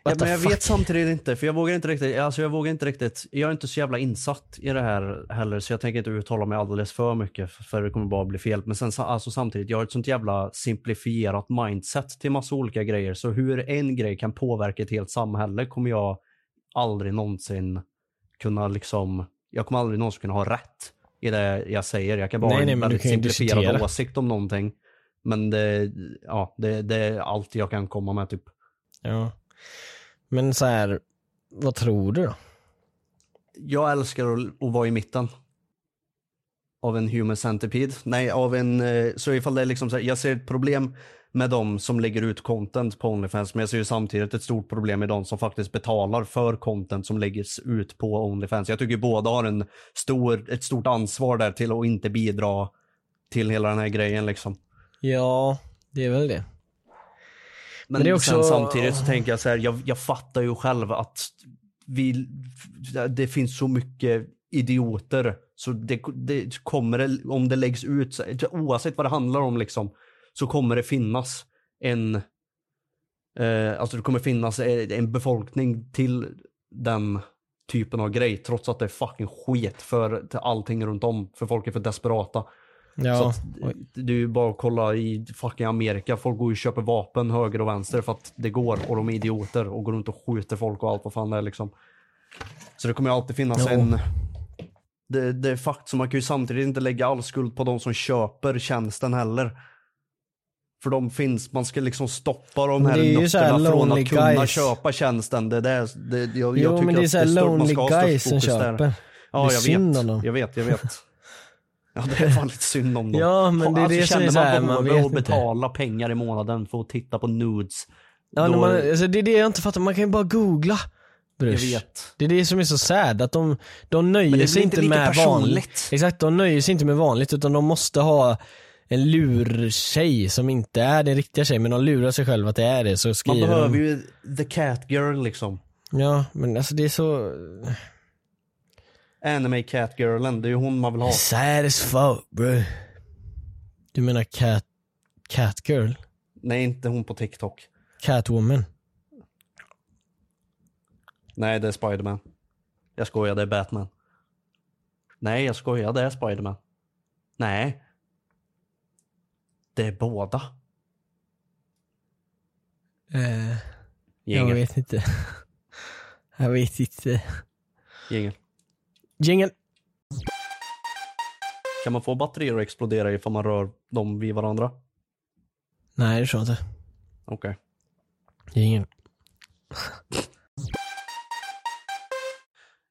Speaker 1: What the
Speaker 2: men jag
Speaker 1: fuck?
Speaker 2: vet samtidigt inte, för jag vågar inte riktigt. Alltså jag vågar inte riktigt. Jag är inte så jävla insatt i det här heller, så jag tänker inte uttala mig alldeles för mycket, för det kommer bara bli fel. Men sen sa- alltså samtidigt, jag har ett sånt jävla simplifierat mindset till massa olika grejer, så hur en grej kan påverka ett helt samhälle kommer jag aldrig någonsin kunna liksom, jag kommer aldrig någonsin kunna ha rätt i det jag säger. Jag kan bara
Speaker 1: Nej,
Speaker 2: ha
Speaker 1: nej,
Speaker 2: en
Speaker 1: men du
Speaker 2: väldigt
Speaker 1: kan ju
Speaker 2: simplifierad
Speaker 1: diskutera.
Speaker 2: åsikt om någonting. Men det, ja, det, det är allt jag kan komma med typ.
Speaker 1: Ja. Men så här, vad tror du då?
Speaker 2: Jag älskar att, att vara i mitten. Av en human centipede. Nej, av en, eh, så ifall det är liksom så här, jag ser ett problem med de som lägger ut content på Onlyfans, men jag ser ju samtidigt ett stort problem med de som faktiskt betalar för content som läggs ut på Onlyfans. Jag tycker båda har en stor, ett stort ansvar där till att inte bidra till hela den här grejen liksom.
Speaker 1: Ja, det är väl det.
Speaker 2: Men,
Speaker 1: Men det är
Speaker 2: sen
Speaker 1: också-
Speaker 2: samtidigt så tänker jag så här, jag, jag fattar ju själv att vi, det finns så mycket idioter. Så det, det kommer, det- om det läggs ut, så- oavsett vad det handlar om liksom, så kommer det finnas en, eh, alltså det kommer finnas eh, en befolkning till den typen av grej trots att det är fucking skit för till allting runt om. För folk är för desperata. Så
Speaker 1: Ja,
Speaker 2: att, det är ju bara att kolla i fucking Amerika. Folk går ju och köper vapen höger och vänster för att det går och de är idioter och går runt och skjuter folk och allt vad fan det är liksom. Så det kommer ju alltid finnas en... Det, det är fakt så man kan ju samtidigt inte lägga all skuld på de som köper tjänsten heller. För de finns, man ska liksom stoppa de
Speaker 1: Men
Speaker 2: här
Speaker 1: det är ju så här
Speaker 2: nötterna från
Speaker 1: lonely
Speaker 2: att kunna
Speaker 1: guys.
Speaker 2: köpa tjänsten. Det är där, det, jag, jag
Speaker 1: jo
Speaker 2: tycker
Speaker 1: men det är
Speaker 2: att
Speaker 1: såhär
Speaker 2: stört- man
Speaker 1: lonely
Speaker 2: ska ha störst
Speaker 1: guys som
Speaker 2: fokus där.
Speaker 1: köper.
Speaker 2: Ja,
Speaker 1: Det är
Speaker 2: jag
Speaker 1: synd om
Speaker 2: vet.
Speaker 1: dem.
Speaker 2: Jag vet, jag vet. Ja, det är fan lite synd om dem.
Speaker 1: Ja, men det är det som
Speaker 2: känner
Speaker 1: är så här,
Speaker 2: man
Speaker 1: man
Speaker 2: behovet
Speaker 1: vet
Speaker 2: att
Speaker 1: inte.
Speaker 2: betala pengar i månaden för att titta på nudes.
Speaker 1: Ja,
Speaker 2: då-
Speaker 1: när man, alltså, det är det jag inte fattar, man kan ju bara googla. Bruce.
Speaker 2: Jag vet.
Speaker 1: Det är det som är så sad, att de, de nöjer
Speaker 2: Men det är
Speaker 1: sig
Speaker 2: väl inte
Speaker 1: inte
Speaker 2: lika
Speaker 1: med
Speaker 2: personligt?
Speaker 1: vanligt. Exakt, de nöjer sig inte med vanligt utan de måste ha en lurtjej som inte är den riktiga tjejen men de lurar sig själva att det är det så
Speaker 2: Man
Speaker 1: skriver
Speaker 2: behöver
Speaker 1: de.
Speaker 2: ju the cat girl liksom.
Speaker 1: Ja men alltså det är så...
Speaker 2: Anime cat girlen, det är ju hon man vill ha.
Speaker 1: Sad as fuck bro. Du menar cat... Catgirl?
Speaker 2: Nej, inte hon på TikTok.
Speaker 1: Catwoman?
Speaker 2: Nej, det är Spiderman. Jag skojar, det är Batman. Nej, jag skojar, det är Spiderman. Nej. Det är båda.
Speaker 1: Eh, jag
Speaker 2: Jingel.
Speaker 1: vet inte. jag vet inte.
Speaker 2: Jingel.
Speaker 1: Jingle.
Speaker 2: Kan man få batterier att explodera ifall man rör dem vid varandra?
Speaker 1: Nej det tror jag inte.
Speaker 2: Okej.
Speaker 1: Jingle.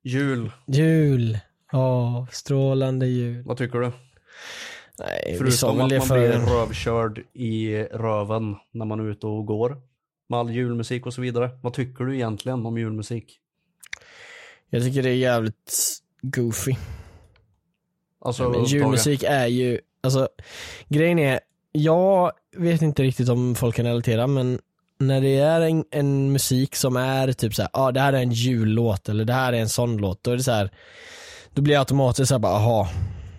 Speaker 2: Jul,
Speaker 1: Jul. Ja, strålande jul.
Speaker 2: vad tycker du?
Speaker 1: Nej, vi sa
Speaker 2: Förutom
Speaker 1: väl
Speaker 2: att
Speaker 1: Eh, det
Speaker 2: man blir
Speaker 1: för...
Speaker 2: rövkörd i röven när man är ute och går. Med all julmusik och så vidare. Vad tycker du egentligen om julmusik?
Speaker 1: Jag tycker det är jävligt goofy.
Speaker 2: Alltså,
Speaker 1: Men
Speaker 2: överhuvudtaget.
Speaker 1: julmusik är ju, alltså grejen är, jag vet inte riktigt om folk kan relatera men när det är en, en musik som är typ såhär, ja ah, det här är en jullåt eller det här är en sån låt, då är det så här, då blir jag automatiskt såhär bara, aha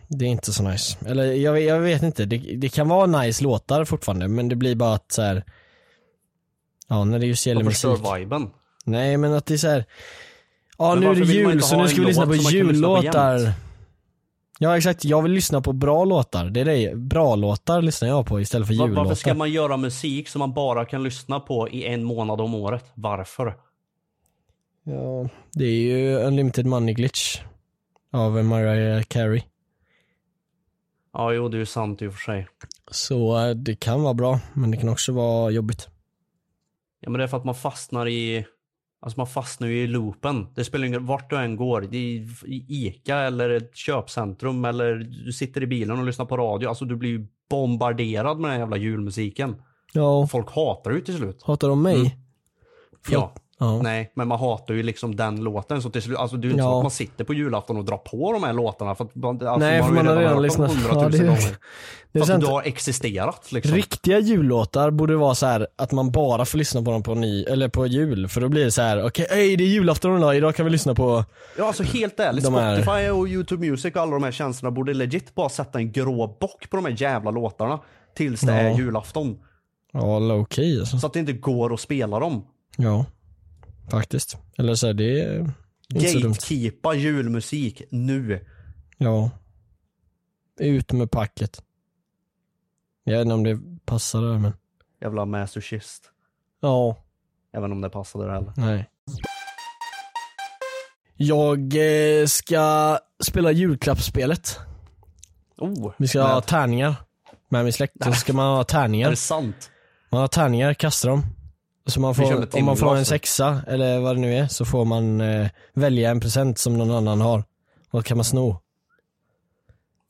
Speaker 1: det är inte så nice. Eller jag, jag vet inte, det, det kan vara nice låtar fortfarande men det blir bara att såhär, ja när det just gäller
Speaker 2: Man
Speaker 1: musik.
Speaker 2: förstör viben.
Speaker 1: Nej men att det är såhär, ja
Speaker 2: Men
Speaker 1: nu är det
Speaker 2: varför vill man
Speaker 1: jul
Speaker 2: inte
Speaker 1: så
Speaker 2: ha
Speaker 1: nu ska
Speaker 2: en
Speaker 1: vi lyssna
Speaker 2: låt
Speaker 1: på
Speaker 2: som man kan lyssna på
Speaker 1: jullåtar.
Speaker 2: jämt?
Speaker 1: ja exakt, jag vill lyssna på bra låtar. Det är det, bra låtar lyssnar jag på istället för
Speaker 2: Va-
Speaker 1: jullåtar.
Speaker 2: Varför ska man göra musik som man bara kan lyssna på i en månad om året? Varför?
Speaker 1: ja, det är ju Unlimited Money Glitch av Mariah Carey.
Speaker 2: Ja, jo, det är ju sant i och för sig.
Speaker 1: Så eh, det kan vara bra men det kan också vara jobbigt.
Speaker 2: Ja, men det är för att man fastnar i... Alltså man fastnar ju i loopen. Det spelar ingen vart du än går. I i Ica eller ett köpcentrum eller du sitter i bilen och lyssnar på radio. Alltså du blir ju bombarderad med den här jävla julmusiken.
Speaker 1: Ja,
Speaker 2: Folk hatar ju till slut.
Speaker 1: hatar de mig?
Speaker 2: Mm. Ja.
Speaker 1: Ja.
Speaker 2: Nej, men man hatar ju liksom den låten. Så till slut, alltså det är ju inte så
Speaker 1: Ja.
Speaker 2: att man sitter på julafton och drar på de här låtarna. För att man, alltså
Speaker 1: Nej, för man har redan lyssnat.
Speaker 2: Ja,
Speaker 1: Ja, det
Speaker 2: det
Speaker 1: är-
Speaker 2: gånger.
Speaker 1: Det är
Speaker 2: för att
Speaker 1: sant.
Speaker 2: du har existerat liksom.
Speaker 1: Riktiga jullåtar borde vara så här att man bara får lyssna på dem på ny, eller på jul, för då blir det så här: okej, ey, det är julafton idag, idag kan vi lyssna på
Speaker 2: Ja, alltså helt ärligt.
Speaker 1: De här-
Speaker 2: Spotify och YouTube Music och alla de här tjänsterna borde legit bara sätta en grå bock på de här jävla låtarna tills det är julafton.
Speaker 1: Ja, low key alltså.
Speaker 2: Så att det inte går att spela dem.
Speaker 1: Ja. Faktiskt. Eller så här, det är inte så dumt.
Speaker 2: Gatekeepa julmusik nu.
Speaker 1: Ja. Ut med packet. Jag vet inte om det passar där men.
Speaker 2: Jävla masochist.
Speaker 1: Ja,
Speaker 2: Även om det passade det heller.
Speaker 1: nej. Jag eh, ska spela julklappsspelet.
Speaker 2: Oh,
Speaker 1: Vi ska ha
Speaker 2: med-
Speaker 1: tärningar. Med min släkt. Så ska man ha
Speaker 2: Är
Speaker 1: tärningar.
Speaker 2: det sant?
Speaker 1: Man har tärningar, kastar dem. Så man
Speaker 2: Vi kör med
Speaker 1: får, om man får en
Speaker 2: timglas.
Speaker 1: sexa eller vad det nu är så får man eh, välja en present som någon annan har. Och då kan man sno.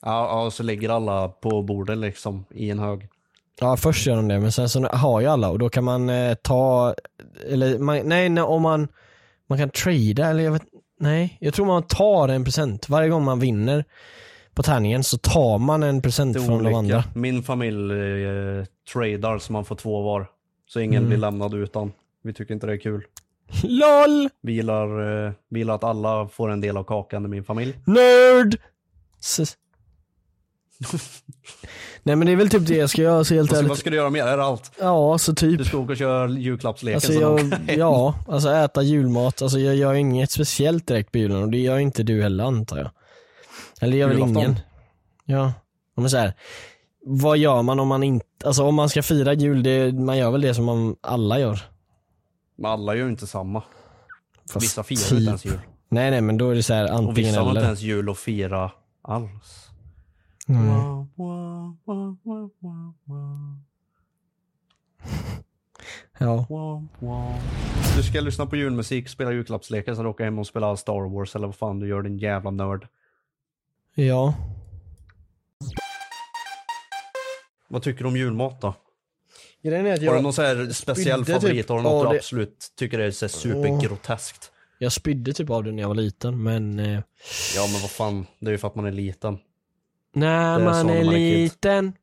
Speaker 2: Ja, ja, så ligger alla på bordet liksom i en hög.
Speaker 1: Ja först gör de det men sen så har ju alla och då kan man eh, ta, eller man, nej, nej om man, man kan trada eller jag vet Nej, jag tror man tar en present. Varje gång man vinner på tärningen så tar man en present
Speaker 2: Det är
Speaker 1: från de andra.
Speaker 2: olika. Min familj eh, tradar så man får två var. Så ingen
Speaker 1: Mm.
Speaker 2: blir lämnad utan. Vi tycker inte det är kul.
Speaker 1: LOL!
Speaker 2: Vi gillar, eh, vi gillar att alla får en del av kakan i min familj.
Speaker 1: Nerd! S- nej men det är väl typ det jag ska göra så helt
Speaker 2: Vad ska, vad
Speaker 1: ärligt.
Speaker 2: ska du göra mer? Är det allt?
Speaker 1: Ja, så typ.
Speaker 2: Du ska åka och köra julklappsleken
Speaker 1: Alltså
Speaker 2: sen
Speaker 1: jag,
Speaker 2: åka hem.
Speaker 1: ja, alltså äta julmat. Alltså jag gör inget speciellt direkt på julen och det gör inte du heller antar jag. Eller gör väl
Speaker 2: Julafton.
Speaker 1: ingen. Ja. Ja, Men så här, vad gör man om man inte, alltså om man ska fira jul, det, man gör väl det som man alla gör.
Speaker 2: Men alla gör ju inte samma.
Speaker 1: Fast typ.
Speaker 2: Vissa firar ju inte ens jul.
Speaker 1: Nej nej men då är det så här
Speaker 2: Och vissa
Speaker 1: antingen
Speaker 2: har inte
Speaker 1: eller.
Speaker 2: ens jul att fira alls.
Speaker 1: Mm.
Speaker 2: Wah, wah, wah, wah, wah, wah,
Speaker 1: Ja.
Speaker 2: wah, wah. Du ska lyssna på julmusik, spela julklappsleken, sen åka hem och spela Star Wars eller vad fan du gör din jävla nörd.
Speaker 1: ja.
Speaker 2: Vad tycker du om julmat då?
Speaker 1: Grejen är att
Speaker 2: Har du
Speaker 1: jag,
Speaker 2: någon så här speciell
Speaker 1: Spydde typ
Speaker 2: favorit? Har du något
Speaker 1: av
Speaker 2: du
Speaker 1: det-
Speaker 2: absolut tycker är så här supergroteskt?
Speaker 1: jag spydde typ av det när jag var liten men eh,
Speaker 2: Ja men vad fan, det är ju för att man är liten.
Speaker 1: När
Speaker 2: Det är så
Speaker 1: man
Speaker 2: när
Speaker 1: är,
Speaker 2: man är kid.
Speaker 1: liten.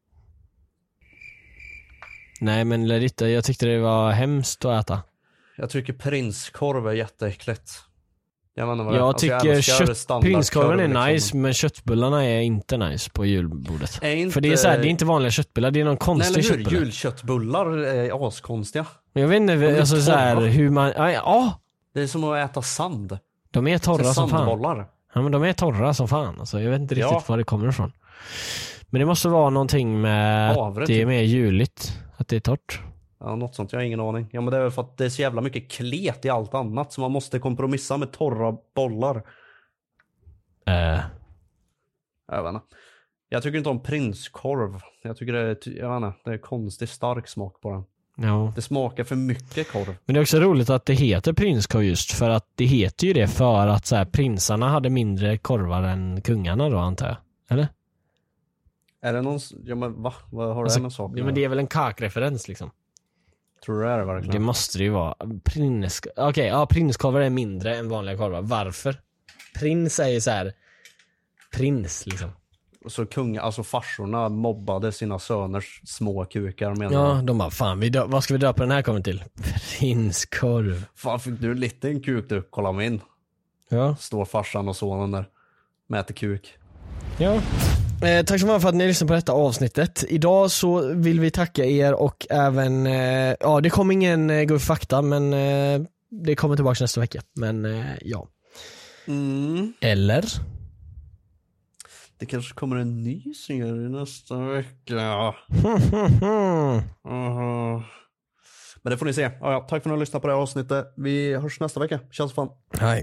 Speaker 1: Nej men Lerita, jag tyckte det var hemskt att äta.
Speaker 2: Jag tycker prinskorv är jätteäckligt. Jag, vet inte vad det är.
Speaker 1: Jag
Speaker 2: Alltså,
Speaker 1: tycker
Speaker 2: älskar
Speaker 1: kött,
Speaker 2: standardkorv,
Speaker 1: prinskorven är
Speaker 2: liksom,
Speaker 1: nice
Speaker 2: men-
Speaker 1: men köttbullarna är inte nice på julbordet.
Speaker 2: Är inte-
Speaker 1: För det är, så här, det är inte vanliga köttbullar, det är någon
Speaker 2: Nej
Speaker 1: konstig
Speaker 2: eller hur,
Speaker 1: köttbulle.
Speaker 2: julköttbullar är askonstiga.
Speaker 1: Men jag vet
Speaker 2: är
Speaker 1: inte alltså, så här,
Speaker 2: torra.
Speaker 1: hur man, ja, ja
Speaker 2: Det är som att äta sand.
Speaker 1: de är torra som fan.
Speaker 2: Sandbollar.
Speaker 1: Ja men de är torra som fan alltså, jag vet inte riktigt
Speaker 2: Ja.
Speaker 1: var det kommer ifrån. Men det måste vara någonting med
Speaker 2: Havre,
Speaker 1: att det är
Speaker 2: typ.
Speaker 1: mer juligt, att det är torrt.
Speaker 2: Ja, något sånt, jag har ingen aning. Ja men det är väl för att det är så jävla mycket klet i allt annat så man måste kompromissa med torra bollar.
Speaker 1: Eh,
Speaker 2: Jag vet inte. Jag tycker inte om prinskorv. Jag tycker det är, ty- jag vet inte, det är konstigt stark smak på den.
Speaker 1: ja.
Speaker 2: Det smakar för mycket korv.
Speaker 1: Men det är också roligt att det heter prinskorv just för att det heter ju det för att så här, prinsarna hade mindre korvar än kungarna då antar jag. Eller?
Speaker 2: Är det någon, s- ja men va? Vad har det med
Speaker 1: Alltså,
Speaker 2: saker
Speaker 1: ja, men det är väl en kakreferens liksom.
Speaker 2: Tror du det är det verkligen?
Speaker 1: Det måste det ju vara. Prins... Okej, ja prinskorvar är mindre än vanliga korvar. Varför? Prins är ju så här. Prins liksom.
Speaker 2: Så kung, alltså farsorna mobbade sina söners små kukar menar
Speaker 1: Ja,
Speaker 2: ja.
Speaker 1: de bara fan vi dö- vad ska vi döpa den här korven till? Prinskorv.
Speaker 2: Fan fick du en liten kuk du, kolla min.
Speaker 1: Ja.
Speaker 2: Står farsan och sonen där. Mäter kuk.
Speaker 1: Ja. Eh, tack så mycket för att ni lyssnade på detta avsnittet. Idag så vill vi tacka er och även, eh, ja det kom ingen eh, Guff Fakta men eh, det kommer tillbaka nästa vecka. Men eh, ja. Mm. Eller?
Speaker 2: Det kanske kommer en ny serie nästa vecka. Mhm. Men det får ni se. Ja, ja, tack för att ni har lyssnat på det här avsnittet. Vi hörs nästa vecka. Känns fan.
Speaker 1: Nej.